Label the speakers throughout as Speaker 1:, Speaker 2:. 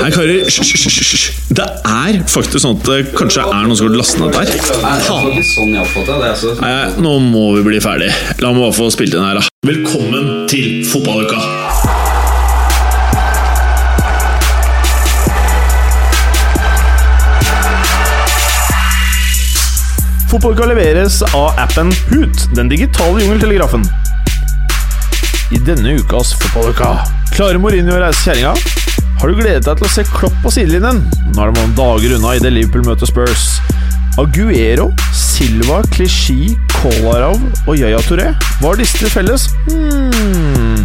Speaker 1: Nei, karer, hysj, hysj, hysj, hysj. Det er faktisk sånn at det kanskje er noen som har lastet ned der.
Speaker 2: Nei, det var ikke sånn jeg oppfattet det. Altså.
Speaker 1: Nei, nå må vi bli ferdig. La meg bare få spilt inn her, da. Velkommen til fotballuka!
Speaker 3: Fotballuka leveres av appen Hoot, den digitale jungeltelegrafen. I denne ukas Fotballuka klarer Mourinho å reise kjerringa. Har du gledet deg til å se Klopp på sidelinjen? Nå er det noen dager unna idet Liverpool møter Spurs. Aguero, Silva, Klisjé, Kolarov og Yaya Touré. Hva har disse til felles? Hmm.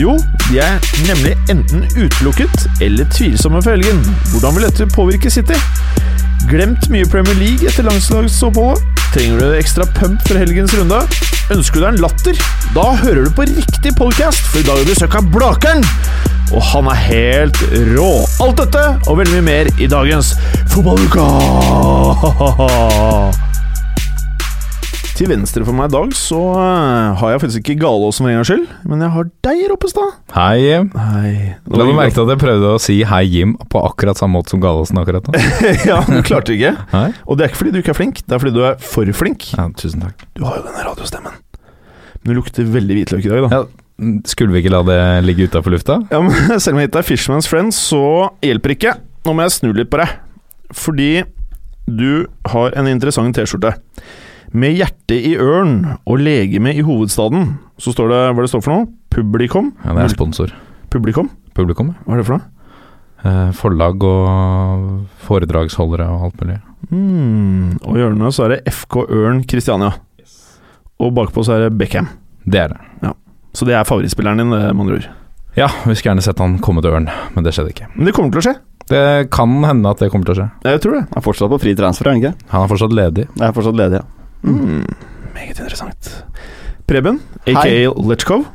Speaker 3: Jo, de er nemlig enten utelukket eller tvilsomme for helgen. Hvordan vil dette påvirke City? Glemt mye Premier League etter landslagsoppholdet? Trenger du ekstra pump for helgens runde? Ønsker du deg en latter? Da hører du på riktig podcast, for i dag har du besøk av Blakeren! Og han er helt rå. Alt dette og veldig mye mer i dagens Fotballuka! Til venstre for meg i dag så eh, har jeg faktisk ikke Galås for en gangs skyld, men jeg har deg, Roppestad.
Speaker 4: Hei, Jim.
Speaker 3: Nei,
Speaker 4: La meg merke til at jeg prøvde å si hei, Jim, på akkurat samme måte som Gallosen akkurat nå.
Speaker 3: Ja, du klarte det ikke.
Speaker 4: Hei.
Speaker 3: Og det er ikke fordi du ikke er flink, det er fordi du er for flink.
Speaker 4: Ja, tusen takk.
Speaker 3: Du har jo denne radiostemmen. Men du lukter veldig hvitløk i dag, da.
Speaker 4: Ja, Mm, skulle vi ikke la det ligge utafor lufta?
Speaker 3: Ja, men Selv om jeg ikke er Fishman's Friend, så hjelper ikke. Nå må jeg snu litt på deg. Fordi du har en interessant T-skjorte. Med hjerte i ørn og legeme i hovedstaden, så står det hva det står for noe? Publikum?
Speaker 4: Ja, det er sponsor.
Speaker 3: Publikum?
Speaker 4: Publikum. ja.
Speaker 3: Hva er det for noe?
Speaker 4: Eh, Forlag og foredragsholdere og alt mulig.
Speaker 3: Hmm, og i hjørnet så er det FK Ørn Kristiania. Og bakpå så er det Beckham.
Speaker 4: Det er det.
Speaker 3: Så det er favorittspilleren din, det, med andre ord.
Speaker 4: Ja, vi skulle gjerne sett han komme til Ørn, men det skjedde ikke.
Speaker 3: Men det kommer til å skje.
Speaker 4: Det kan hende at det kommer til å skje.
Speaker 3: Jeg tror det.
Speaker 5: Han er fortsatt på fri transfer, er han ikke?
Speaker 4: Han er fortsatt ledig.
Speaker 5: Jeg er fortsatt ledig, ja.
Speaker 3: Mm, meget interessant. Preben,
Speaker 5: Hei.
Speaker 3: aka Letchkov.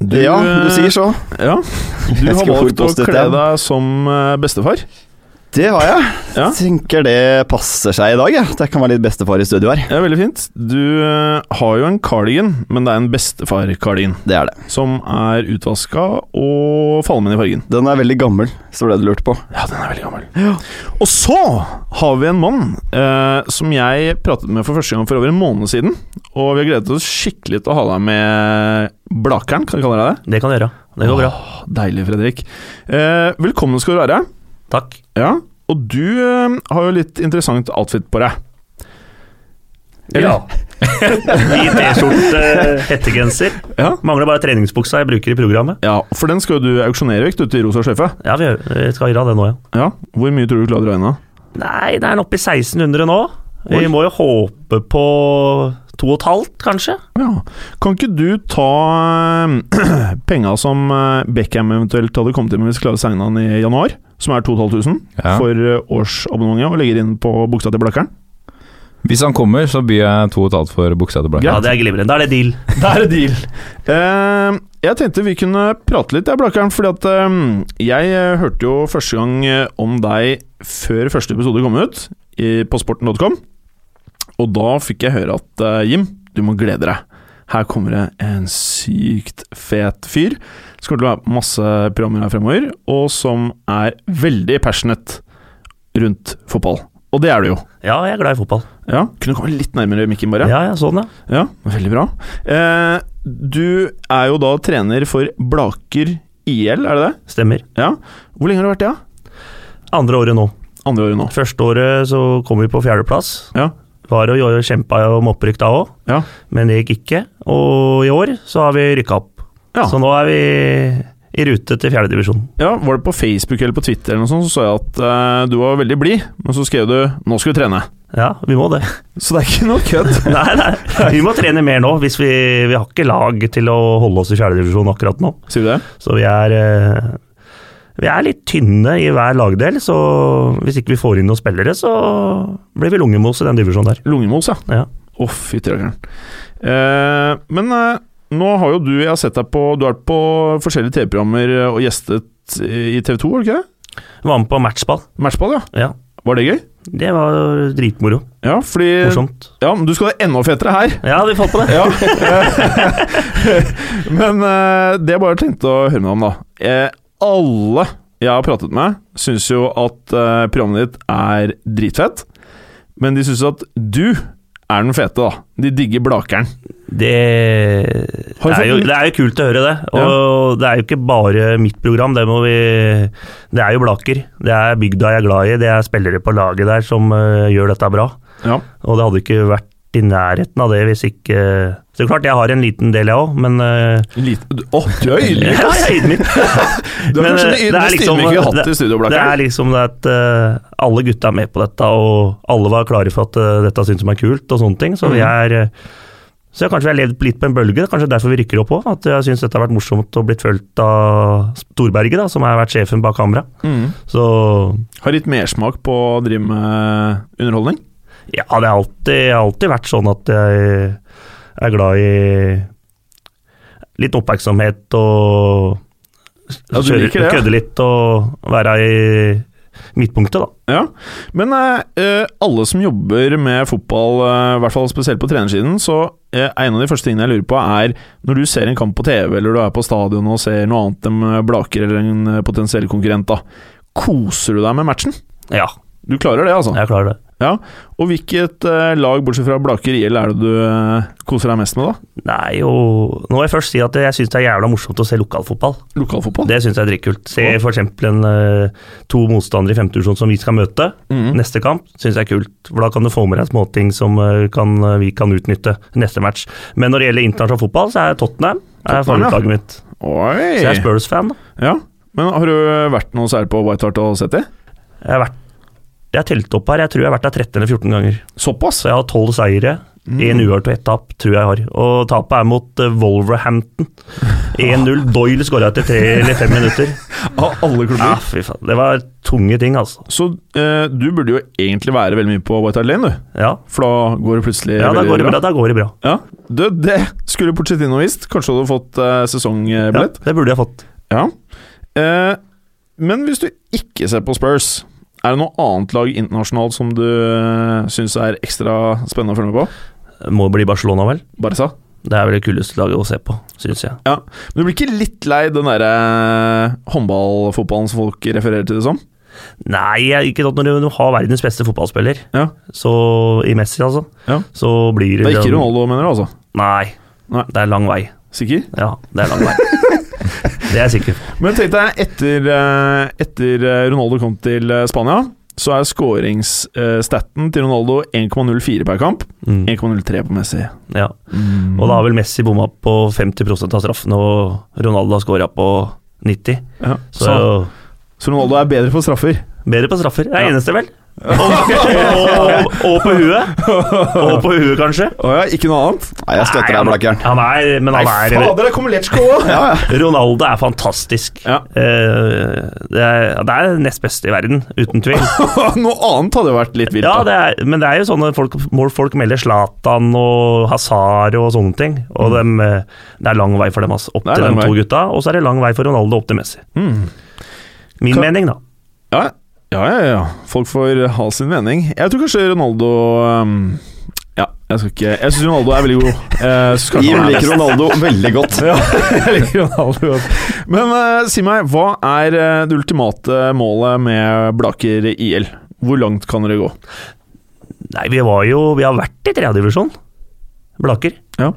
Speaker 3: Du, eh,
Speaker 5: ja, du sier så.
Speaker 3: Ja, du
Speaker 5: Jeg
Speaker 3: har
Speaker 5: skal få
Speaker 3: valgt å
Speaker 5: post-it
Speaker 3: kle
Speaker 5: igjen.
Speaker 3: deg som eh, bestefar.
Speaker 5: Det har jeg.
Speaker 3: Ja.
Speaker 5: Tenker det passer seg i dag, jeg. Det kan være litt bestefar i studio her.
Speaker 3: Det er veldig fint. Du eh, har jo en cardigan, men det er en bestefar-cardigan.
Speaker 5: Det er det.
Speaker 3: Som er utvaska og falmen i fargen.
Speaker 5: Den er veldig gammel, så ble det lurt på.
Speaker 3: Ja, den er veldig gammel. Og så har vi en mann eh, som jeg pratet med for første gang for over en måned siden. Og vi har gledet oss skikkelig til å ha deg med Blakeren, kan vi kalle deg det?
Speaker 6: Det kan jeg gjøre. Det går bra.
Speaker 3: Åh, deilig, Fredrik. Eh, velkommen skal du være.
Speaker 6: Takk.
Speaker 3: Ja, og du eh, har jo litt interessant outfit på deg.
Speaker 6: Ja. Hvit T-skjorte, hettegenser.
Speaker 3: Ja.
Speaker 6: Mangler bare treningsbuksa jeg bruker i programmet.
Speaker 3: Ja, for den skal jo du auksjonere vekk ute i Rosa Sjøfe.
Speaker 6: Ja, vi vi skal gjøre det nå, ja.
Speaker 3: Ja. Hvor mye tror du du klarer å dra inn av?
Speaker 6: Nei, det er den oppe i 1600 nå. Vi
Speaker 3: Oi.
Speaker 6: må jo håpe på to og et halvt, kanskje.
Speaker 3: Ja. Kan ikke du ta eh, penga som eh, Beckham eventuelt hadde kommet inn med hvis vi klarer å signe han i januar, som er 2500
Speaker 4: Ja.
Speaker 3: for eh, årsabonnementet, og legger inn på buksa til Blakkeren?
Speaker 4: Hvis han kommer, så byr jeg to og et halvt for buksa til Blakken.
Speaker 6: Ja, det er glimrende. Da er det deal.
Speaker 3: Da er det deal. Eh, jeg tenkte vi kunne prate litt, jeg, Blakkaren. Fordi at eh, jeg eh, hørte jo første gang eh, om deg før første episode kom ut, i, på sporten.com. Og da fikk jeg høre at eh, Jim, du må glede deg. Her kommer det en sykt fet fyr. Som kommer til å være på masse programmer her fremover, og som er veldig passionate rundt fotball. Og det er du jo.
Speaker 6: Ja, jeg er glad i fotball.
Speaker 3: Ja, Kunne du komme litt nærmere mikken, bare?
Speaker 6: Ja, ja, sånn, ja.
Speaker 3: Ja, veldig bra. Eh, du er jo da trener for Blaker IL, er det det?
Speaker 6: Stemmer.
Speaker 3: Ja. Hvor lenge har du vært det? da?
Speaker 6: Andre året nå.
Speaker 3: Andre året nå.
Speaker 6: Første året så kom vi på fjerdeplass.
Speaker 3: Ja.
Speaker 6: Var og jo- kjempa jo om opprykk da òg,
Speaker 3: Ja.
Speaker 6: men det gikk ikke. Og i år så har vi rykka opp.
Speaker 3: Ja.
Speaker 6: Så nå er vi i rute til fjerdedivisjon.
Speaker 3: ja. Var det på Facebook eller på Twitter eller noe sånt, så så jeg at eh, du var veldig blid, men så skrev du 'nå skal du trene'.
Speaker 6: Ja, vi må det.
Speaker 3: Så det er ikke noe kødd.
Speaker 6: Nei, nei, vi må trene mer nå. Hvis vi, vi har ikke lag til å holde oss i fjerdedivisjon akkurat nå.
Speaker 3: Sier du det?
Speaker 6: Så vi er, eh, vi er litt tynne i hver lagdel, så hvis ikke vi får inn noen spillere, så blir vi lungemos i den divisjonen der.
Speaker 3: Lungemos, ja.
Speaker 6: Ja.
Speaker 3: Å, fytti rakkeren. Eh, men eh, nå har jo du Jeg har sett deg på Du har vært på forskjellige TV-programmer og gjestet i TV 2, var det ikke det?
Speaker 6: Var med på matchball.
Speaker 3: Matchball, ja.
Speaker 6: Ja.
Speaker 3: Var det gøy?
Speaker 6: Det var dritmoro.
Speaker 3: Ja, fordi
Speaker 6: Morsomt.
Speaker 3: Ja, men du skal ha det enda fetere her.
Speaker 6: Ja, vi falt på det.
Speaker 3: Ja. Men eh, det jeg bare tenkte å høre med deg om, da. Eh, alle jeg har pratet med, syns jo at eh, programmet ditt er dritfett. Men de syns at du er den fete, da. De digger Blakeren.
Speaker 6: Det,
Speaker 3: Har
Speaker 6: det,
Speaker 3: du
Speaker 6: er
Speaker 3: fått
Speaker 6: jo,
Speaker 3: litt-
Speaker 6: det er jo kult å høre det. Og det er jo ikke bare mitt program, det må vi Det er jo Blaker. Det er bygda jeg er glad i, det er spillere på laget der som øh, gjør dette bra.
Speaker 3: Ja.
Speaker 6: Og det hadde ikke vært i nærheten av det hvis ikke Så det er klart, jeg har en liten del, jeg òg, men øh,
Speaker 3: Lite Å, du er ydmyk,
Speaker 6: Ja,
Speaker 3: ass!
Speaker 6: jeg er ydmyk.
Speaker 3: Du er
Speaker 6: Men,
Speaker 3: kanskje den
Speaker 6: eh, det er
Speaker 3: ydmykeste
Speaker 6: liksom-
Speaker 3: ydmyke vi har hatt i studio,
Speaker 6: Det er
Speaker 3: Blakeren.
Speaker 6: liksom det at eh, alle gutta er med på dette, og alle var klare for at eh, dette syns de er kult, og sånne ting. Så
Speaker 3: Mhm.
Speaker 6: vi er eh, så jeg kanskje vi har levd litt på en bølge, det er kanskje derfor vi rykker opp òg. At jeg syns dette har vært morsomt og blitt fulgt av Storberget, da, som har vært sjefen bak kamera.
Speaker 3: Mm.
Speaker 6: Så
Speaker 3: Har litt mersmak på å drive med eh, underholdning.
Speaker 6: ja, det har alltid, alltid vært sånn at jeg er glad i litt oppmerksomhet og
Speaker 3: Ja, du liker det, ja.
Speaker 6: kødde litt og være i midtpunktet, da.
Speaker 3: Ja, men eh, eh, alle som jobber med fotball, eh, i hvert fall spesielt på trenersiden, så eh, en av de første tingene jeg lurer på er når du ser en kamp på TV, eller du er på stadion og ser noe annet enn eh, Blaker eller en eh, potensiell konkurrent, da. Koser du deg med matchen?
Speaker 6: Ja,
Speaker 3: Du klarer det, altså?
Speaker 6: jeg klarer det.
Speaker 3: Og hvilket eh, lag, bortsett fra Blaker IL, er det du eh, koser deg mest med, da?
Speaker 6: Nei, jo Nå må jeg først si at jeg syns det er jævla morsomt å se lokalfotball.
Speaker 3: Lokalfotball?
Speaker 6: Det syns jeg er dritkult. Se f.eks. Uh, to motstandere i femtevisjon som vi skal møte
Speaker 3: Mhm.
Speaker 6: neste kamp, syns jeg er kult. For da kan du få med deg småting som eh, kan, vi kan utnytte neste match. Men når det gjelder internasjonal fotball, så er Tottenham, er
Speaker 3: Tottenham, ja.
Speaker 6: favorittlaget mitt. Så jeg er
Speaker 3: Oi!
Speaker 6: Spurs-fan, da.
Speaker 3: Ja. Men har du vært noe særlig på White Hart og sett det?
Speaker 6: Jeg har vært jeg har telt opp her, jeg tror jeg har vært der 13 eller 14 ganger.
Speaker 3: Såpass?
Speaker 6: Så jeg har 12 seire.
Speaker 3: Mm.
Speaker 6: Én uavgjort og ett tap, tror jeg har. Og tapet er mot eh, Wolverhampton. 1-0. Doyle skåra etter tre eller fem minutter.
Speaker 3: Av alle klubber?
Speaker 6: Ja, fy faen. Det var tunge ting, altså.
Speaker 3: Så eh, du burde jo egentlig være veldig mye på White Hart Lane, du.
Speaker 6: Ja,
Speaker 3: For da går det plutselig
Speaker 6: ja da,
Speaker 3: veldig
Speaker 6: går det
Speaker 3: bra.
Speaker 6: bra. da går det bra.
Speaker 3: Ja. Du, det skulle Pochettino visst. Kanskje du hadde fått eh,
Speaker 6: Ja,
Speaker 3: sesongbillett.
Speaker 6: det burde jeg fått.
Speaker 3: Ja. Eh, men hvis du ikke ser på Spurs, er det noe annet lag internasjonalt som du uh, syns er ekstra spennende å følge med på?
Speaker 6: Må bli Barcelona, vel.
Speaker 3: Barca?
Speaker 6: Det er vel det kuleste laget å se på, syns jeg.
Speaker 3: Men du blir ikke litt lei den derre eh, håndballfotballen som folk refererer til det som?
Speaker 6: Nei, jeg- ikke sant, når du har verdens beste fotballspiller,
Speaker 3: Ja.
Speaker 6: så i Messi, altså,
Speaker 3: Ja.
Speaker 6: så blir
Speaker 3: Det er ikke
Speaker 6: den-
Speaker 3: Ronaldo, mener du altså?
Speaker 6: Nei,
Speaker 3: Nei.
Speaker 6: det er lang vei.
Speaker 3: Sikker?
Speaker 6: Ja, det er lang vei. det er jeg sikker på.
Speaker 3: Men tenk deg, etter, eh, etter eh, Ronaldo kom til eh, Spania, så er skåringsstaten til Ronaldo 1,04 per kamp. 1,03 på Messi.
Speaker 6: Mm. Ja.
Speaker 4: Mm.
Speaker 6: Og da har vel Messi bomma på 50 av straffene, og Ronaldo har scora på 90
Speaker 3: Ja.
Speaker 6: Så,
Speaker 3: Så, så Ronaldo er bedre på straffer.
Speaker 6: bedre på straffer. Det er
Speaker 3: Ja.
Speaker 6: eneste, vel. og, og, og på huet. Og på huet, kanskje.
Speaker 3: Å ja, ikke noe annet?
Speaker 5: Nei, jeg støtter
Speaker 6: Nei,
Speaker 5: deg,
Speaker 6: han-
Speaker 5: Blakkeren.
Speaker 6: Han er, men han er
Speaker 3: der kommer Letchko òg! ja, ja.
Speaker 6: Ronaldo er fantastisk.
Speaker 3: Ja.
Speaker 6: Eh, det, er, ja, det er nest beste i verden, uten tvil.
Speaker 3: Noe annet hadde jo vært litt vilt.
Speaker 6: Ja,
Speaker 3: da.
Speaker 6: det er, men det er jo sånne folk, hvor folk melder Zlatan og Hazard og sånne ting. Og dem, eh, det er lang vei for dem, altså. Opp
Speaker 3: Mm. Det er
Speaker 6: til
Speaker 3: lang
Speaker 6: de to
Speaker 3: vei.
Speaker 6: gutta, og så er det lang vei for Ronaldo opp til Messi.
Speaker 3: Mm.
Speaker 6: Min
Speaker 3: Kan-
Speaker 6: mening, da.
Speaker 3: Ja. ja, ja, ja. Folk får ha sin mening. Jeg tror kanskje Ronaldo ehm, Ja, jeg skal ikke Jeg syns Ronaldo er veldig god. Jeg synes kanskje
Speaker 5: Vi
Speaker 3: han er
Speaker 5: liker Ronaldo veldig godt.
Speaker 3: Ja, jeg liker Ronaldo godt. Men eh, si meg, hva er eh, det ultimate målet med Blaker IL? Hvor langt kan dere gå?
Speaker 6: Nei, vi var jo Vi har vært i tredjedivisjon, Blaker.
Speaker 3: Ja.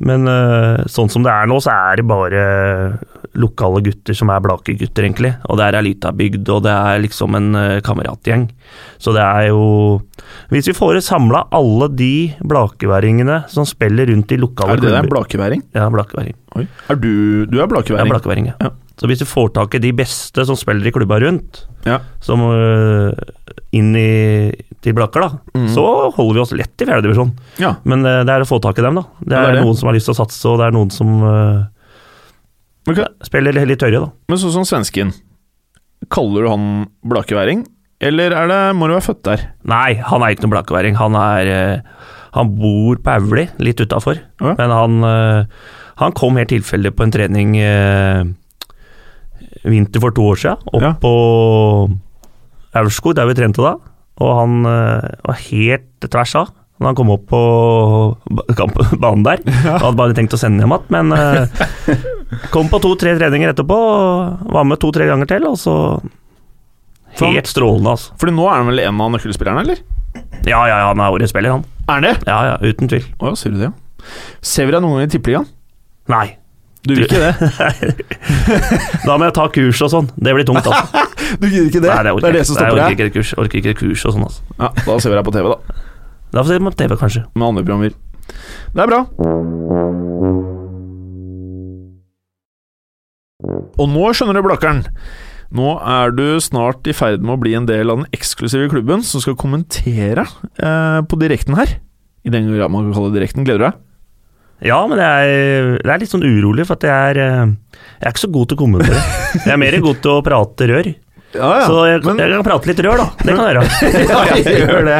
Speaker 6: Men eh, sånn som det er nå, så er det bare lokale gutter som er Blaker-gutter, egentlig. Og det er ei lita bygd, og det er liksom en eh, kameratgjeng. Så det er jo Hvis vi får samla alle de blakeværingene som spiller rundt i lokale
Speaker 3: Er det det der?
Speaker 6: klubber-
Speaker 3: Blakeværing?
Speaker 6: Ja, blakeværing.
Speaker 3: Oi. Er du, du er
Speaker 6: Ja,
Speaker 3: blakeværing?
Speaker 6: blakeværing ja.
Speaker 3: Ja.
Speaker 6: Så hvis du får tak i de beste som spiller i klubba rundt,
Speaker 3: Ja.
Speaker 6: som øh, inn i, til Blaker, da,
Speaker 3: Mhm.
Speaker 6: så holder vi oss lett i fjerdedivisjon.
Speaker 3: Ja.
Speaker 6: Men øh, det er å få tak i dem, da. Det
Speaker 3: Ja,
Speaker 6: er,
Speaker 3: det er det.
Speaker 6: noen som har lyst til å satse, og det er noen som øh,
Speaker 3: Men, kan-
Speaker 6: spiller litt tørre, da.
Speaker 3: men sånn som svensken, kaller du han blakeværing? Eller er det, må du være født der?
Speaker 6: Nei, han er ikke noen blakeværing. Han er øh, Han bor på Auli, litt utafor.
Speaker 3: Ja.
Speaker 6: Men han, øh, han kom helt tilfeldig på en trening øh, vinter for to år siden, opp
Speaker 3: Ja.
Speaker 6: på Aurskog, der vi trente da. Og han øh, var helt tvers av når han kom opp på ba- kamp- banen der. Han hadde bare tenkt å sende hjem igjen, men øh, Kom på to-tre treninger etterpå, og var med to-tre ganger til, og så Helt strålende, altså.
Speaker 3: Fordi nå er han vel en av nøkkelspillerne, eller?
Speaker 6: Ja, ja, ja, han er årets spiller, han.
Speaker 3: Er han det?
Speaker 6: Ja, ja, uten tvil.
Speaker 3: Å ja, sier du det, ja. Ser vi deg noen gang i tippeligaen?
Speaker 6: Nei.
Speaker 3: Du vil ikke det?
Speaker 6: Da må jeg ta kurs og sånn. Det blir tungt, altså.
Speaker 3: Du gidder ikke det?
Speaker 6: Nei, det orker
Speaker 3: er
Speaker 6: jeg
Speaker 3: det som
Speaker 6: ikke. Nei, jeg
Speaker 3: stopper
Speaker 6: orker
Speaker 3: deg?
Speaker 6: ikke et kurs, orker ikke et kurs og sånn, altså.
Speaker 3: Ja, da ser vi deg på TV, da.
Speaker 6: Da får vi se på TV, kanskje.
Speaker 3: Med andre programmer. Det er bra. Og nå skjønner du, Blakkeren. Nå er du snart i ferd med å bli en del av den eksklusive klubben som skal kommentere eh, på direkten her. I den grad man kan kalle det direkten. Gleder du deg?
Speaker 6: Ja, men jeg er, jeg er litt sånn urolig, for at jeg er eh, Jeg er ikke så god til å kommentere. Jeg er mer god til å prate rør.
Speaker 3: Ja,
Speaker 6: Så jeg, jeg kan prate litt rør, da. Det kan jeg gjøre.
Speaker 3: ja, jeg gjør det.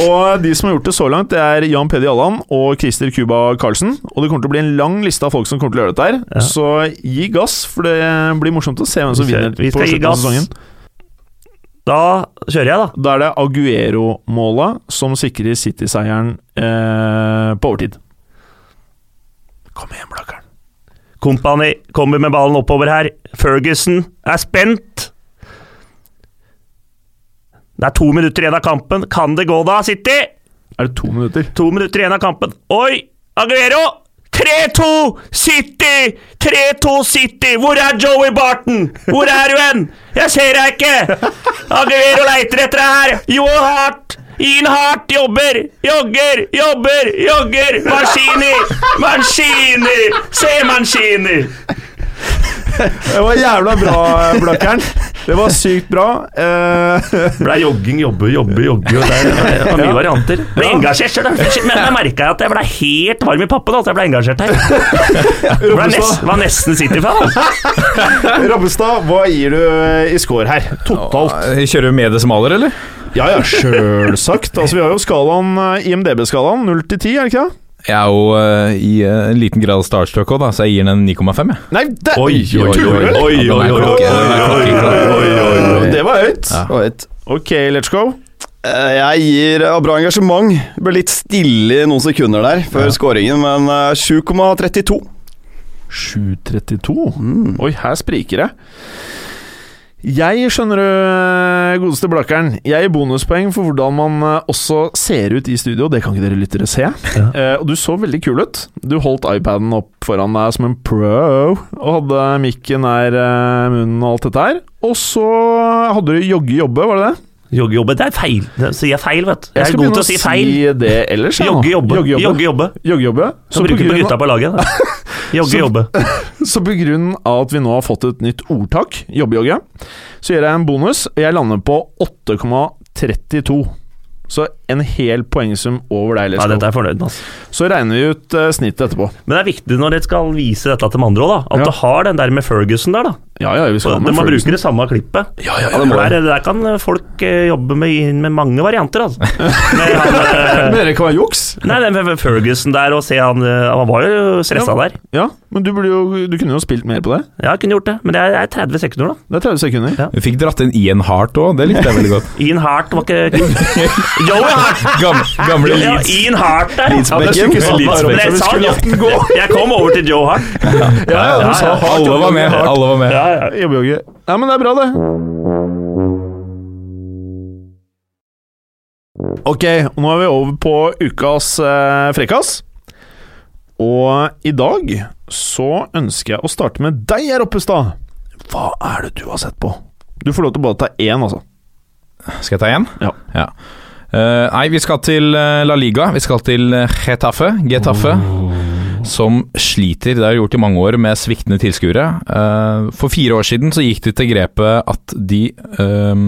Speaker 3: Og de som har gjort det så langt, det er Jan Peder Jalland og Christer Cuba Karlsen. Og det kommer til å bli en lang liste av folk som kommer til å gjøre dette her.
Speaker 6: Ja.
Speaker 3: Så gi gass, for det blir morsomt å se hvem som
Speaker 6: Vi
Speaker 3: vinner
Speaker 6: skal- vi
Speaker 3: på
Speaker 6: skal gi
Speaker 3: slutten av
Speaker 6: gass.
Speaker 3: sesongen.
Speaker 6: Da kjører jeg, da.
Speaker 3: Da er det Aguero-målet som sikrer City-seieren eh, på overtid. Kom igjen, Blakkaren.
Speaker 6: Kompani kommer med ballen oppover her. Ferguson er spent. Det er to minutter igjen av kampen. Kan det gå da, City?
Speaker 3: Er det to minutter?
Speaker 6: To minutter igjen av kampen. Oi! Aguero! 3-2 City! 3-2 City! Hvor er Joey Barton? Hvor er du hen? Jeg ser deg ikke! Aguero leiter etter deg her. Joe Hart! Ian Hart jobber! Jogger! Jobber! Jogger! Mancini! Mancini! Se Mancini!
Speaker 3: Det var jævla bra, Blakkeren. Det var sykt bra. Eh,
Speaker 6: For det er jogging, jobbe, jobbe, jobbe. og Det er, det er mye varianter. Ble engasjert selv, da. Men jeg merka at jeg ble helt varm i pappen. Altså. Jeg ble engasjert her. Jeg Ble nest, var nesten City-fan. Altså.
Speaker 3: Rabbestad, hva gir du eh, i score her? Totalt.
Speaker 4: Jeg kjører med desimaler, eller?
Speaker 3: Ja, ja, sjølsagt. Altså, vi har jo skalaen, eh, IMDb-skalaen, 0 til 10, er det ikke det?
Speaker 4: Jeg er jo eh, i eh, en liten grad starstruck òg, da, så jeg gir den en 9,5, jeg.
Speaker 3: Nei, det
Speaker 4: oi, oi, oi, oi, oi, oi, oi, oi,
Speaker 5: oi, oi.
Speaker 3: Det var høyt.
Speaker 5: Det var høyt.
Speaker 3: Ok, let's go.
Speaker 5: Eh, Jeg gir ja, bra engasjement. Det Ble litt stille i noen sekunder der før skåringen, men eh, 7,32.
Speaker 3: 7.32. Oi, her spriker det. Jeg skjønner du, godeste Blakkeren. Jeg gir bonuspoeng for hvordan man eh, også ser ut i studio. Det kan ikke dere lyttere se. Eh, og du så veldig kul ut. Du holdt iPaden opp foran deg som en pro, og hadde mikken nær eh, munnen og alt dette her. Og så hadde du jogge jobbe, var det det?
Speaker 6: Jogge, jobbe. Det er feil. Det sier jeg feil, vet du. Jeg er god til å si feil.
Speaker 3: det ellers. jeg, nå.
Speaker 6: Jogge, jobbe.
Speaker 3: Jogge, jobbe.
Speaker 6: Jogge, jobbe.
Speaker 3: Jogge, jobbe. sånn.
Speaker 6: Så
Speaker 3: på
Speaker 6: bruker på
Speaker 3: grunn av-
Speaker 6: gutta på laget. Da. Jogge, jobbe.
Speaker 3: Så på grunn av at vi nå har fått et nytt ordtak, jobbejogge, så gjør jeg en bonus. og Jeg lander på 8,32. Så en hel poengsum over deg,
Speaker 6: Ja,
Speaker 3: Lesko.
Speaker 6: dette er jeg fornøyd med. Altså.
Speaker 3: så regner vi ut eh, snittet etterpå.
Speaker 6: Men det er viktig når dere skal vise dette til de andre òg, at
Speaker 3: Ja.
Speaker 6: du har den der med Ferguson der. da
Speaker 3: Ja, ja, vi skal ha
Speaker 6: De
Speaker 3: med
Speaker 6: må
Speaker 3: Ferguson.
Speaker 6: bruke det samme klippet.
Speaker 3: Ja, ja,
Speaker 5: Ja,
Speaker 3: ja.
Speaker 5: det må
Speaker 6: Der,
Speaker 5: jeg.
Speaker 6: der kan folk eh, jobbe med, med mange varianter, altså. Med han, eh,
Speaker 3: Men det kan være juks.
Speaker 6: nei, den med Ferguson der, og se han eh, Han var jo stressa der.
Speaker 3: Ja, men du, burde jo, du kunne jo spilt mer på det.
Speaker 6: Ja, jeg kunne gjort det, men det er, det er 30 sekunder, da.
Speaker 3: Det er 30 sekunder.
Speaker 6: Ja.
Speaker 4: Vi fikk dratt inn Ian Hart òg, det likte jeg veldig godt.
Speaker 6: Ian Hart var ikke Joey Hart!
Speaker 4: Gamle, gamle
Speaker 6: Ja,
Speaker 4: Leeds.
Speaker 6: Ian Hart der.
Speaker 5: Ja, det er
Speaker 4: ikke så
Speaker 6: Ja,
Speaker 4: Leeds-bekken.
Speaker 6: men jeg sa Hart. Jeg kom over til Joe Hart.
Speaker 3: Ja, ja, du sa hardt.
Speaker 4: Alle var med. alle var med
Speaker 6: Ja, ja.
Speaker 3: Jobbejogge. Ja, men det er bra, det. Ok, og nå er vi over på ukas eh, frekkas. Og i dag så ønsker jeg å starte med deg her oppe, Stad. Hva er det du har sett på? Du får lov til å bare ta én, altså.
Speaker 4: Skal jeg ta én?
Speaker 3: Ja.
Speaker 4: Eh, nei, vi skal til eh, La Liga. Vi skal til eh, Getafe. Getafe. Som sliter, det har de gjort i mange år, med sviktende tilskuere. Eh, for fire år siden så gikk de til grepet at de uh,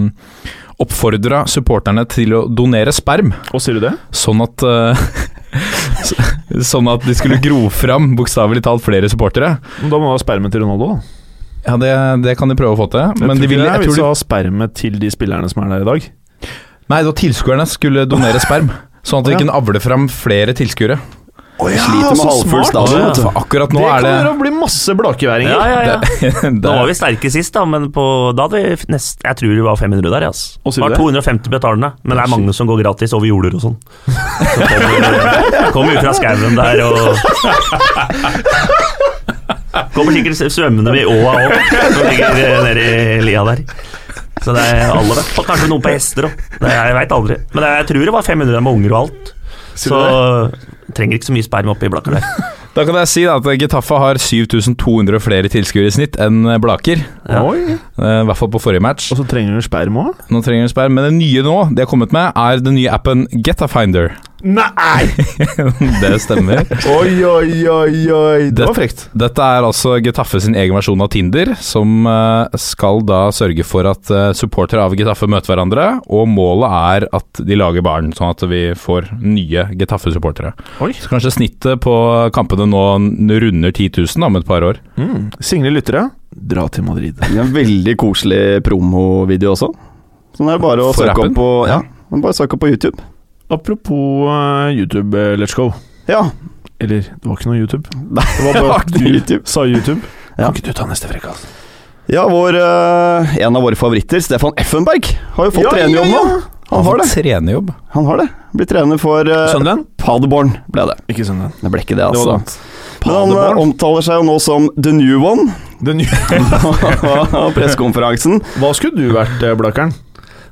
Speaker 4: oppfordra supporterne til å donere sperm,
Speaker 3: Og sier du det?
Speaker 4: sånn at eh, så- Sånn at de skulle gro fram, bokstavelig talt, flere supportere.
Speaker 3: Men Da må du ha sperme til Ronaldo, da.
Speaker 4: Ja, det, det kan de prøve å få til. Men de ville, jeg
Speaker 3: jeg
Speaker 4: tror de
Speaker 3: ha sperme til de spillerne som er der i dag.
Speaker 4: Nei, da tilskuerne skulle donere sperm. Sånn at vi
Speaker 3: Å, ja.
Speaker 4: kunne avle fram flere tilskuere.
Speaker 5: Vi sliter med halvfull
Speaker 6: Ja,
Speaker 5: stadion.
Speaker 6: ja.
Speaker 5: vet du.
Speaker 4: For akkurat nå
Speaker 3: det
Speaker 4: er
Speaker 3: kan
Speaker 4: det
Speaker 3: jo bli masse blakeværinger.
Speaker 6: Ja, ja, ja.
Speaker 4: det-
Speaker 6: Da var vi sterke sist, da, men på, da hadde vi nest, Jeg tror det var 500 der, altså.
Speaker 3: Og
Speaker 6: Det
Speaker 3: sier du
Speaker 6: var
Speaker 3: det?
Speaker 6: 250 betalende, men det er mange som går gratis over jorder og sånn. Som kommer- Kommer ut fra skauen der og Kommer sikkert svømmende i åa òg, som ligger eh, nede i lia der. Så det er alle det. Og kanskje noen på hester òg. Jeg veit aldri. Men jeg tror det var 500 med unger og alt. Så trenger ikke så mye sperm oppi blakka der.
Speaker 4: Da kan jeg si da at Getafe har 7200 flere tilskuere i snitt enn eh, Blaker.
Speaker 6: Ja.
Speaker 3: Oi.
Speaker 4: Eh, I hvert fall på forrige match.
Speaker 3: Og så trenger du sperm òg?
Speaker 4: Nå trenger de sperr, men det nye nå, de har kommet med, er den nye appen Getafinder.
Speaker 3: Nei!
Speaker 4: Det stemmer.
Speaker 3: Oi, oi, oi, oi. Det var frekt.
Speaker 4: Dette er altså Getafe sin egen versjon av Tinder, som eh, skal da sørge for at eh, supportere av Getafe møter hverandre, og målet er at de lager barn, sånn at vi får nye Getafe-supportere.
Speaker 3: Oi.
Speaker 4: Så kanskje snittet på kampene nå n- runder 10 000 om et par år.
Speaker 3: Mm. Single lyttere, dra til Madrid.
Speaker 5: Det er en veldig koselig promovideo også. Så det er bare å
Speaker 4: For
Speaker 5: søke
Speaker 4: appen?
Speaker 5: opp på, ja, bare søke opp på YouTube.
Speaker 3: Apropos eh, YouTube, eh, let's go.
Speaker 5: Ja,
Speaker 3: Eller, det var ikke noe YouTube.
Speaker 5: Nei,
Speaker 3: Det var bare at du
Speaker 5: YouTube.
Speaker 3: sa YouTube.
Speaker 5: Ja.
Speaker 3: Kan ikke du ta neste frekkas?
Speaker 5: ja vår, eh, en av våre favoritter, Stefan Effenberg, har jo fått
Speaker 3: Ja,
Speaker 5: trenerjobb
Speaker 3: ja, ja.
Speaker 5: nå. Han har det.
Speaker 4: Trenerjobb.
Speaker 5: Han har det. Blitt trener for eh,
Speaker 3: Sunderland?
Speaker 5: Paderborn, ble det.
Speaker 3: Ikke Sunderland.
Speaker 5: Det ble ikke det,
Speaker 3: Det var
Speaker 5: altså.
Speaker 3: dumt.
Speaker 5: Men han eh,
Speaker 3: Paderborn?
Speaker 5: omtaler seg jo nå som The New One
Speaker 3: Den nye-
Speaker 5: på pressekonferansen.
Speaker 3: Hva skulle du vært, eh, Blakkeren?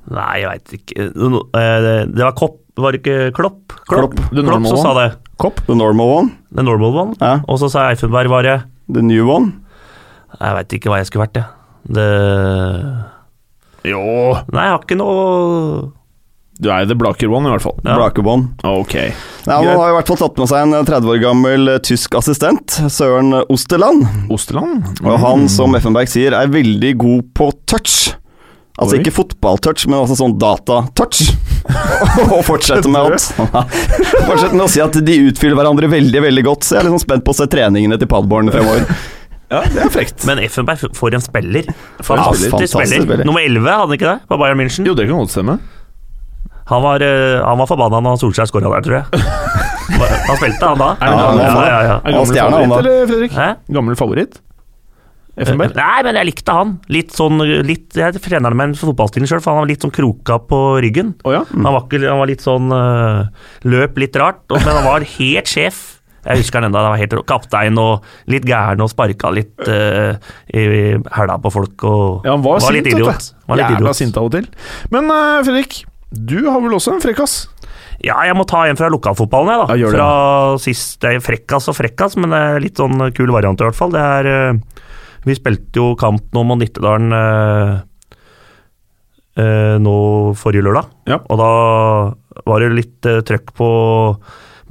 Speaker 6: Nei, jeg veit ikke Nå- eh, Det var Kopp, var det ikke Klopp?
Speaker 5: Klopp,
Speaker 3: the normal
Speaker 6: så sa det.
Speaker 5: Kopp. The Normal One.
Speaker 6: The normal one.
Speaker 5: Ja.
Speaker 6: Og så sa Eifenberg bare
Speaker 5: The New One.
Speaker 6: Jeg veit ikke hva jeg skulle vært, jeg. Det
Speaker 3: Jo,
Speaker 6: Nei, jeg har ikke noe
Speaker 3: du er the Blaker One, i hvert fall.
Speaker 6: Ja.
Speaker 5: Blaker One.
Speaker 3: Ok.
Speaker 5: Nei, han
Speaker 3: Greit.
Speaker 5: har i hvert fall tatt med seg en eh, 30 år gammel eh, tysk assistent, Søren Osterland.
Speaker 3: Osterland?
Speaker 5: Og han, som Effenberg sier, er veldig god på touch. Altså
Speaker 3: Oi.
Speaker 5: ikke fotballtouch, men altså sånn datatouch. og fortsetter med, at, fortsetter med å si at de utfyller hverandre veldig veldig godt. Så jeg er litt sånn spent på å se treningene til Padborn fremover.
Speaker 3: Ja, det er frekt.
Speaker 6: Men Effenberg, f- for en spiller.
Speaker 5: Fantastisk
Speaker 6: Fantastisk, spiller.
Speaker 5: spiller.
Speaker 6: Nummer 11, hadde han ikke det? På Bayern München.
Speaker 3: Jo, det kan godt stemme.
Speaker 6: Han var, eh, han var forbanna når Solskjær skåra der, tror jeg. Han spilte, han da.
Speaker 3: det
Speaker 5: han
Speaker 6: ja,
Speaker 5: var?
Speaker 6: ja, ja.
Speaker 3: Er
Speaker 5: Han
Speaker 3: gammel
Speaker 5: stjerna, han
Speaker 3: favoritt,
Speaker 5: da.
Speaker 3: eller, Fredrik?
Speaker 6: Hæ?
Speaker 3: Gammel favoritt? Effenberg?
Speaker 6: Nei, men jeg likte han. Litt sånn litt, Jeg trener med en fotballstil sjøl, for han var litt sånn kroka på ryggen.
Speaker 3: Å ja?
Speaker 6: Han, var ikke, han var litt sånn eh, Løp litt rart, og- men han var helt sjef. Jeg husker han enda, han var helt rå. kaptein og litt gæren og sparka litt eh, i i hæla på folk og
Speaker 3: ja han var, sint,
Speaker 6: litt
Speaker 3: vet du.
Speaker 6: idiot. Var litt
Speaker 3: Jævla
Speaker 6: idiot.
Speaker 3: sint av og til. Men eh, Fredrik, du har vel også en frekkas?
Speaker 6: Ja, jeg må ta en fra lokalfotballen, jeg, da.
Speaker 3: Ja, gjør det.
Speaker 6: fra sist, det er frekkas og frekkas, men det er litt sånn kul variant i hvert fall. Det er eh, Vi spilte jo kamp nå mot Nittedalen eh, eh, nå forrige lørdag,
Speaker 3: Ja.
Speaker 6: og da var det litt eh, trøkk på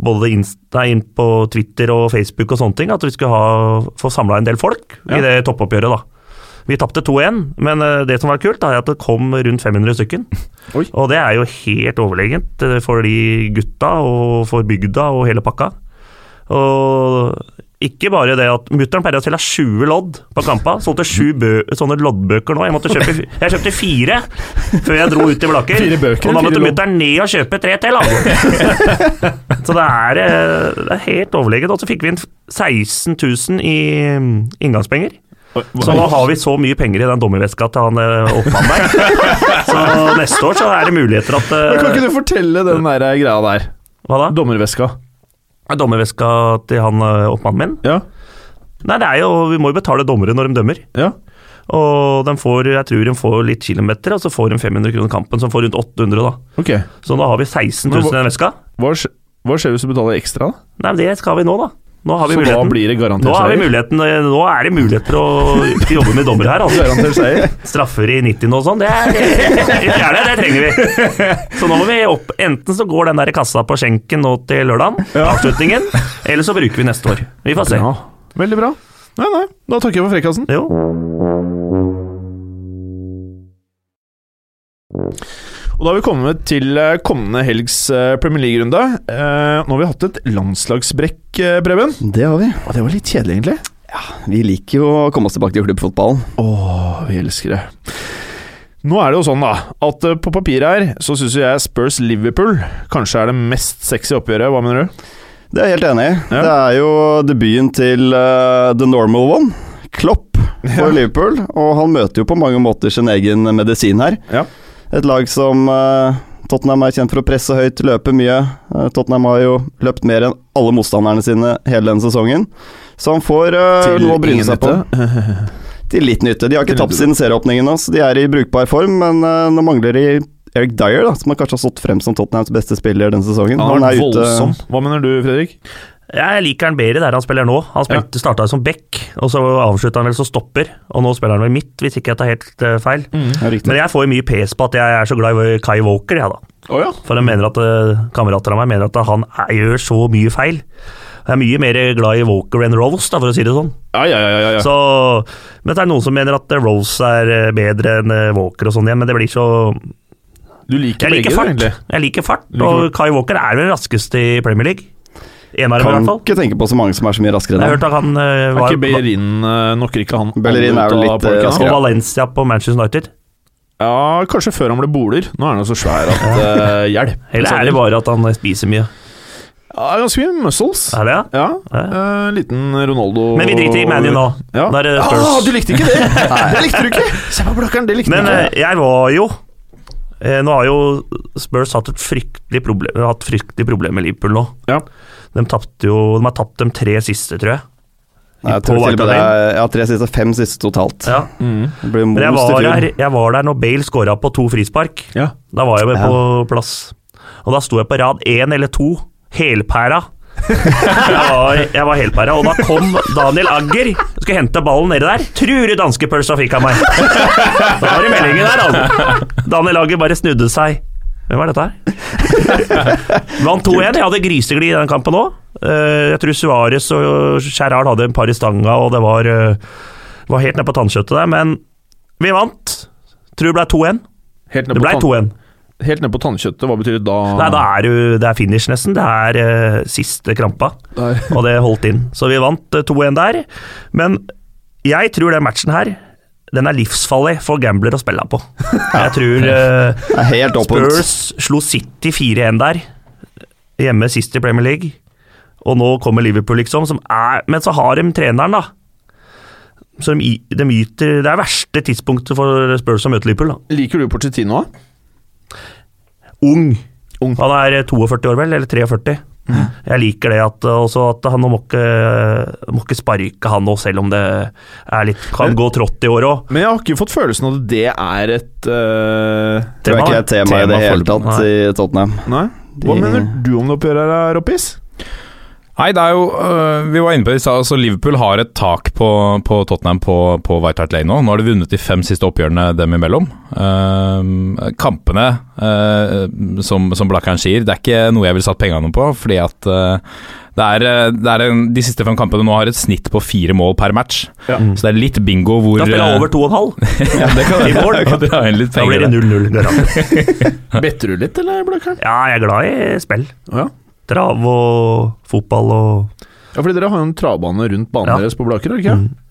Speaker 6: både inst nei, inn på Twitter og Facebook og sånne ting, at vi skulle ha, få samla en del folk
Speaker 3: Ja.
Speaker 6: i det toppoppgjøret, da. Vi tapte 2-1, men eh, det som var kult, da, er at det kom rundt 500 stykken. Og det er jo helt overlegent eh, for de gutta og for bygda og hele pakka. Og ikke bare det at mutter'n pleier å selge 20 lodd på kampa. Solgte sju bø sånne loddbøker nå. Jeg, måtte kjøpe, jeg kjøpte fire før jeg dro ut til Blaker.
Speaker 3: Fire bøker,
Speaker 6: og da
Speaker 3: fire
Speaker 6: måtte
Speaker 3: lodd.
Speaker 6: mutter'n ned og kjøpe tre til. da. så det er, eh, det er helt overlegent. Og så fikk vi inn 16 000 i mm, inngangspenger. Så nå har vi så mye penger i den dommerveska til han eh, oppmannen der. Så neste år så er det muligheter at
Speaker 3: Men Kan
Speaker 6: eh,
Speaker 3: ikke du fortelle den der greia der?
Speaker 6: Hva da?
Speaker 3: Dommerveska.
Speaker 6: Dommerveska til han eh, oppmannen min?
Speaker 3: Ja.
Speaker 6: Nei, det er jo Vi må jo betale dommere når de dømmer.
Speaker 3: ja.
Speaker 6: Og de får, jeg tror de får litt kilometer, og så får de 500 kroner kampen, som får rundt 800, da.
Speaker 3: Ok.
Speaker 6: Så da har vi 16
Speaker 3: Men
Speaker 6: 000
Speaker 3: hva-
Speaker 6: i den veska.
Speaker 3: Hva, skj- hva skjer hvis du betaler ekstra, da?
Speaker 6: Nei, men det skal vi nå, da. Nå har vi
Speaker 3: Så da
Speaker 6: muligheten.
Speaker 3: blir det garantert
Speaker 6: Nå, har vi
Speaker 3: seier?
Speaker 6: muligheten, eh, nå er det muligheter å jobbe med dommere her. Altså.
Speaker 3: Garantert seier.
Speaker 6: Straffer i 90 og sånn, det, er- det, er det, det trenger vi. Så nå må vi opp. Enten så går den der kassa på skjenken nå til lørdagen, avslutningen, eller så bruker vi neste år. Vi får se.
Speaker 3: Ja. Veldig bra. Nei, nei. Da takker jeg for frekkasen.
Speaker 6: Jo.
Speaker 3: Og da har vi kommet til eh, kommende helgs eh, Premier League-runde. Eh, Nå har vi hatt et landslagsbrekk, eh, Preben.
Speaker 5: Det har vi.
Speaker 3: Og det var litt kjedelig, egentlig.
Speaker 5: Vi liker jo å komme oss tilbake til klubbfotballen.
Speaker 3: Åh, vi elsker det. Nå er det jo sånn, da, at eh, på papiret her så syns jo jeg Spurs Liverpool kanskje er det mest sexy oppgjøret. Hva mener du?
Speaker 5: Det er jeg helt enig i.
Speaker 3: Ja.
Speaker 5: Det er jo debuten til eh, The Normal One. Klopp for Liverpool, og han møter jo på mange måter sin egen medisin her.
Speaker 3: Ja.
Speaker 5: Et lag som eh, Tottenham er kjent for å presse høyt, løpe mye. Eh, Tottenham har jo løpt mer enn alle motstanderne sine hele denne sesongen. Så han får eh,
Speaker 3: Til
Speaker 5: noe å bryne
Speaker 3: ingen
Speaker 5: seg på. Til litt nytte. De har ikke
Speaker 3: Til
Speaker 5: tapt
Speaker 3: nytte.
Speaker 5: siden serieåpningen hans. De er i brukbar form, men eh, nå mangler de Eric Dyer, da, som har kanskje har stått frem som Tottenhams beste spiller denne sesongen.
Speaker 3: Han
Speaker 5: er
Speaker 3: er
Speaker 5: ute-
Speaker 3: voldsom. Hva mener du, Fredrik?
Speaker 6: Jeg liker han bedre der han spiller nå. Han spilte, starta som back, og så avslutta han vel som stopper. Og nå spiller han vel midt, hvis ikke jeg tar helt eh, feil.
Speaker 5: Ja, riktig.
Speaker 6: Men jeg får jo mye pes på at jeg er så glad i Kai Walker, jeg, da.
Speaker 3: Å ja.
Speaker 6: For jeg mener at eh, kamerater av meg mener at han er, gjør så mye feil. Jeg er mye mer glad i Walker enn Rose, da, for å si det sånn.
Speaker 3: Ja, ja, ja. ja, ja.
Speaker 6: Så, men det er noen som mener at eh, Rose er eh, bedre enn eh, Walker og sånn igjen, men det blir så
Speaker 3: Du liker
Speaker 6: Jeg
Speaker 3: begge,
Speaker 6: liker
Speaker 3: du,
Speaker 6: fart.
Speaker 3: egentlig.
Speaker 6: Jeg liker fart,
Speaker 3: Liker
Speaker 6: og Kai Walker er vel raskest i Premier League. En av dem, i
Speaker 5: Kan
Speaker 6: hvert fall.
Speaker 5: ikke tenke på så mange som er så mye raskere
Speaker 6: Jeg har
Speaker 5: enn
Speaker 6: hørt at han eh,
Speaker 3: Er
Speaker 6: var
Speaker 3: ikke Bellerin eh, Knocker ikke han
Speaker 5: Bellerin
Speaker 3: alle ut
Speaker 5: er jo
Speaker 3: av
Speaker 5: litt, eh,
Speaker 3: parken, da?
Speaker 6: på Valencia på Manchester United.
Speaker 3: Ja, kanskje før han ble boler. Nå er han jo så svær at uh, Hjelp.
Speaker 6: Eller er det bare at han eh, spiser mye?
Speaker 3: Ja, ganske mye muscles.
Speaker 6: Er det, ja?
Speaker 3: Ja.
Speaker 6: Ja.
Speaker 3: eh, liten Ronaldo
Speaker 6: Men vi driter i ManU nå.
Speaker 3: Ja.
Speaker 6: Da er det Spurs.
Speaker 3: Ah, du likte ikke det! det likte du ikke! Se på blakkeren, det likte
Speaker 6: Men
Speaker 3: du
Speaker 6: eh,
Speaker 3: ikke.
Speaker 6: jeg var jo eh, Nå har jo Spurs hatt et fryktelig problem, hatt fryktelig problem med Liverpool nå.
Speaker 3: Ja.
Speaker 6: De, tapte jo, de har tapt de tre siste, tror jeg.
Speaker 5: Nei, jeg
Speaker 6: på
Speaker 5: tror til og med
Speaker 6: White
Speaker 5: det er ja, tre siste, fem siste totalt.
Speaker 6: Ja.
Speaker 5: Det blir
Speaker 6: Men jeg
Speaker 5: most i
Speaker 6: var,
Speaker 5: fjor.
Speaker 6: der, jeg var der når Bale scora på to frispark.
Speaker 3: Ja.
Speaker 6: Da var jeg med
Speaker 5: Ja.
Speaker 6: på plass. Og da sto jeg på rad én eller to, helpæra. jeg, var, jeg var helpæra, og da kom Daniel Agger skulle hente ballen nedi der. Trur i danskepølsa fikk han meg! Da var det meldingen der, altså. Daniel Agger bare snudde seg. Hvem er dette her? Vant 2-1. Jeg hadde griseglid i den kampen òg. Jeg tror Suárez og Gerrard hadde en par i stanga, og det var, eh, var helt ned på tannkjøttet der. Men vi vant. Tror det ble 2-1.
Speaker 3: Helt ned
Speaker 6: Det
Speaker 3: på
Speaker 6: ble
Speaker 3: tann-
Speaker 6: 2-1.
Speaker 3: Helt ned på tannkjøttet, hva betyr det da?
Speaker 6: Nei, da er du, det er finish nesten. Det er eh, siste krampa,
Speaker 3: Der.
Speaker 6: og det holdt inn. Så vi vant eh, 2-1 der. Men jeg tror den matchen her, den er livsfarlig for gambler å spille på. Jeg tror eh,
Speaker 5: Det er helt åpent.
Speaker 6: Spurs slo City 4-1 der, hjemme sist i Premier League. Og nå kommer Liverpool, liksom, som er Men så har de treneren, da. Så de, i- de yter Det er verste tidspunktet for Spurs å møte Liverpool, da.
Speaker 3: Liker du Porcettino? da?
Speaker 6: ung. Han er 42 år, vel? Eller 43. Jeg liker det at, eh, også at han må ikke, må ikke sparke han nå, selv om det er litt, kan gå trått i år òg.
Speaker 3: Men jeg har ikke fått følelsen av at det er et eh,
Speaker 5: Det var ikke et tema i det hele tatt i Tottenham.
Speaker 3: Nei. Hva
Speaker 5: De-
Speaker 3: mener du om det oppgjøret her, Roppis?
Speaker 4: Nei, det er jo øh, Vi var inne på det i stad. Altså Liverpool har et tak på, på Tottenham på, på White Hart Lane nå. Nå har de vunnet de fem siste oppgjørene dem imellom. Ehm, kampene, øh, som, som Blakkaren sier, det er ikke noe jeg ville satt pengene på. Fordi at øh, det er, øh, det er en, de siste fem kampene nå har et snitt på fire mål per match.
Speaker 3: Ja.
Speaker 6: Mm.
Speaker 4: Så det er litt bingo hvor eh,
Speaker 6: Da spiller han over 2,5.
Speaker 4: ja, det kan
Speaker 6: i mål.
Speaker 4: kan dra inn litt
Speaker 6: Da blir
Speaker 4: penger.
Speaker 6: det 0-0. garantert.
Speaker 3: Better du litt, eller, Blakkeren?
Speaker 6: Ja, jeg er glad i spill.
Speaker 3: Ja.
Speaker 6: Trav og fotball og
Speaker 3: Ja, fordi dere har jo en travbane rundt banen
Speaker 6: Ja. Mm.
Speaker 3: deres på Blaker, har dere ikke?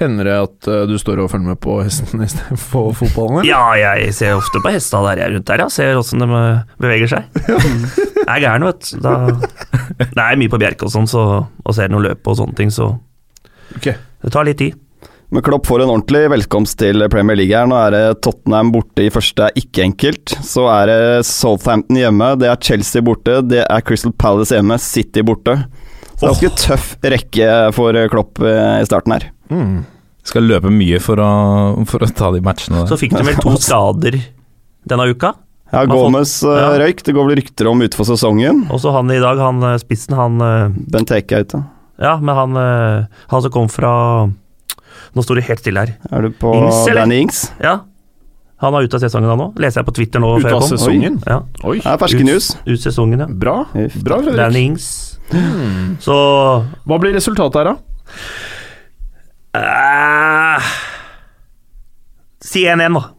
Speaker 3: Hender det at eh, du står og følger med på hesten istedenfor fotballen? eller?
Speaker 6: Ja, jeg ser ofte på hesta der jeg er rundt der, ja. Ser åssen de eh, beveger seg. Jeg er gæren, vet du. Da Det er mye på Bjerke og sånn, så, og ser noen løp og sånne ting, så
Speaker 3: Ok.
Speaker 6: det tar litt tid.
Speaker 5: Men Klopp får en ordentlig velkomst til Premier League her. Nå er det Tottenham borte i første, er ikke enkelt. Så er det Southampton hjemme, det er Chelsea borte, det er Crystal Palace hjemme, City borte. Så det er ganske tøff rekke for Klopp eh, i starten her.
Speaker 3: Mm.
Speaker 4: Skal løpe mye for å, for å ta de matchene.
Speaker 6: Så
Speaker 4: der.
Speaker 6: fikk de vel to skader denne uka.
Speaker 5: Ja,
Speaker 6: Man får-
Speaker 5: Gomez eh,
Speaker 6: ja.
Speaker 5: røyk, det går vel rykter om ute for sesongen.
Speaker 6: Og så han i dag, han eh, spissen, han eh,
Speaker 5: Benteke er ute.
Speaker 6: Ja, men han, eh, han som kom fra Nå står det helt stille her.
Speaker 5: Er du på
Speaker 6: Ings, eller?
Speaker 5: Danny Ings?
Speaker 6: Ja. Han er ute av sesongen da nå. Leser jeg på Twitter nå.
Speaker 3: Ut
Speaker 6: før
Speaker 3: av
Speaker 6: jeg kom.
Speaker 3: sesongen?
Speaker 6: Ja.
Speaker 3: Oi.
Speaker 5: Det er ferske
Speaker 6: Ut-
Speaker 5: news.
Speaker 6: Ut sesongen, ja.
Speaker 3: Bra.
Speaker 5: Uff.
Speaker 3: Bra, Fredrik. Hmm.
Speaker 6: Danny Ings. Så
Speaker 3: Hva blir resultatet her, da?
Speaker 6: eh, Si 1-1, da.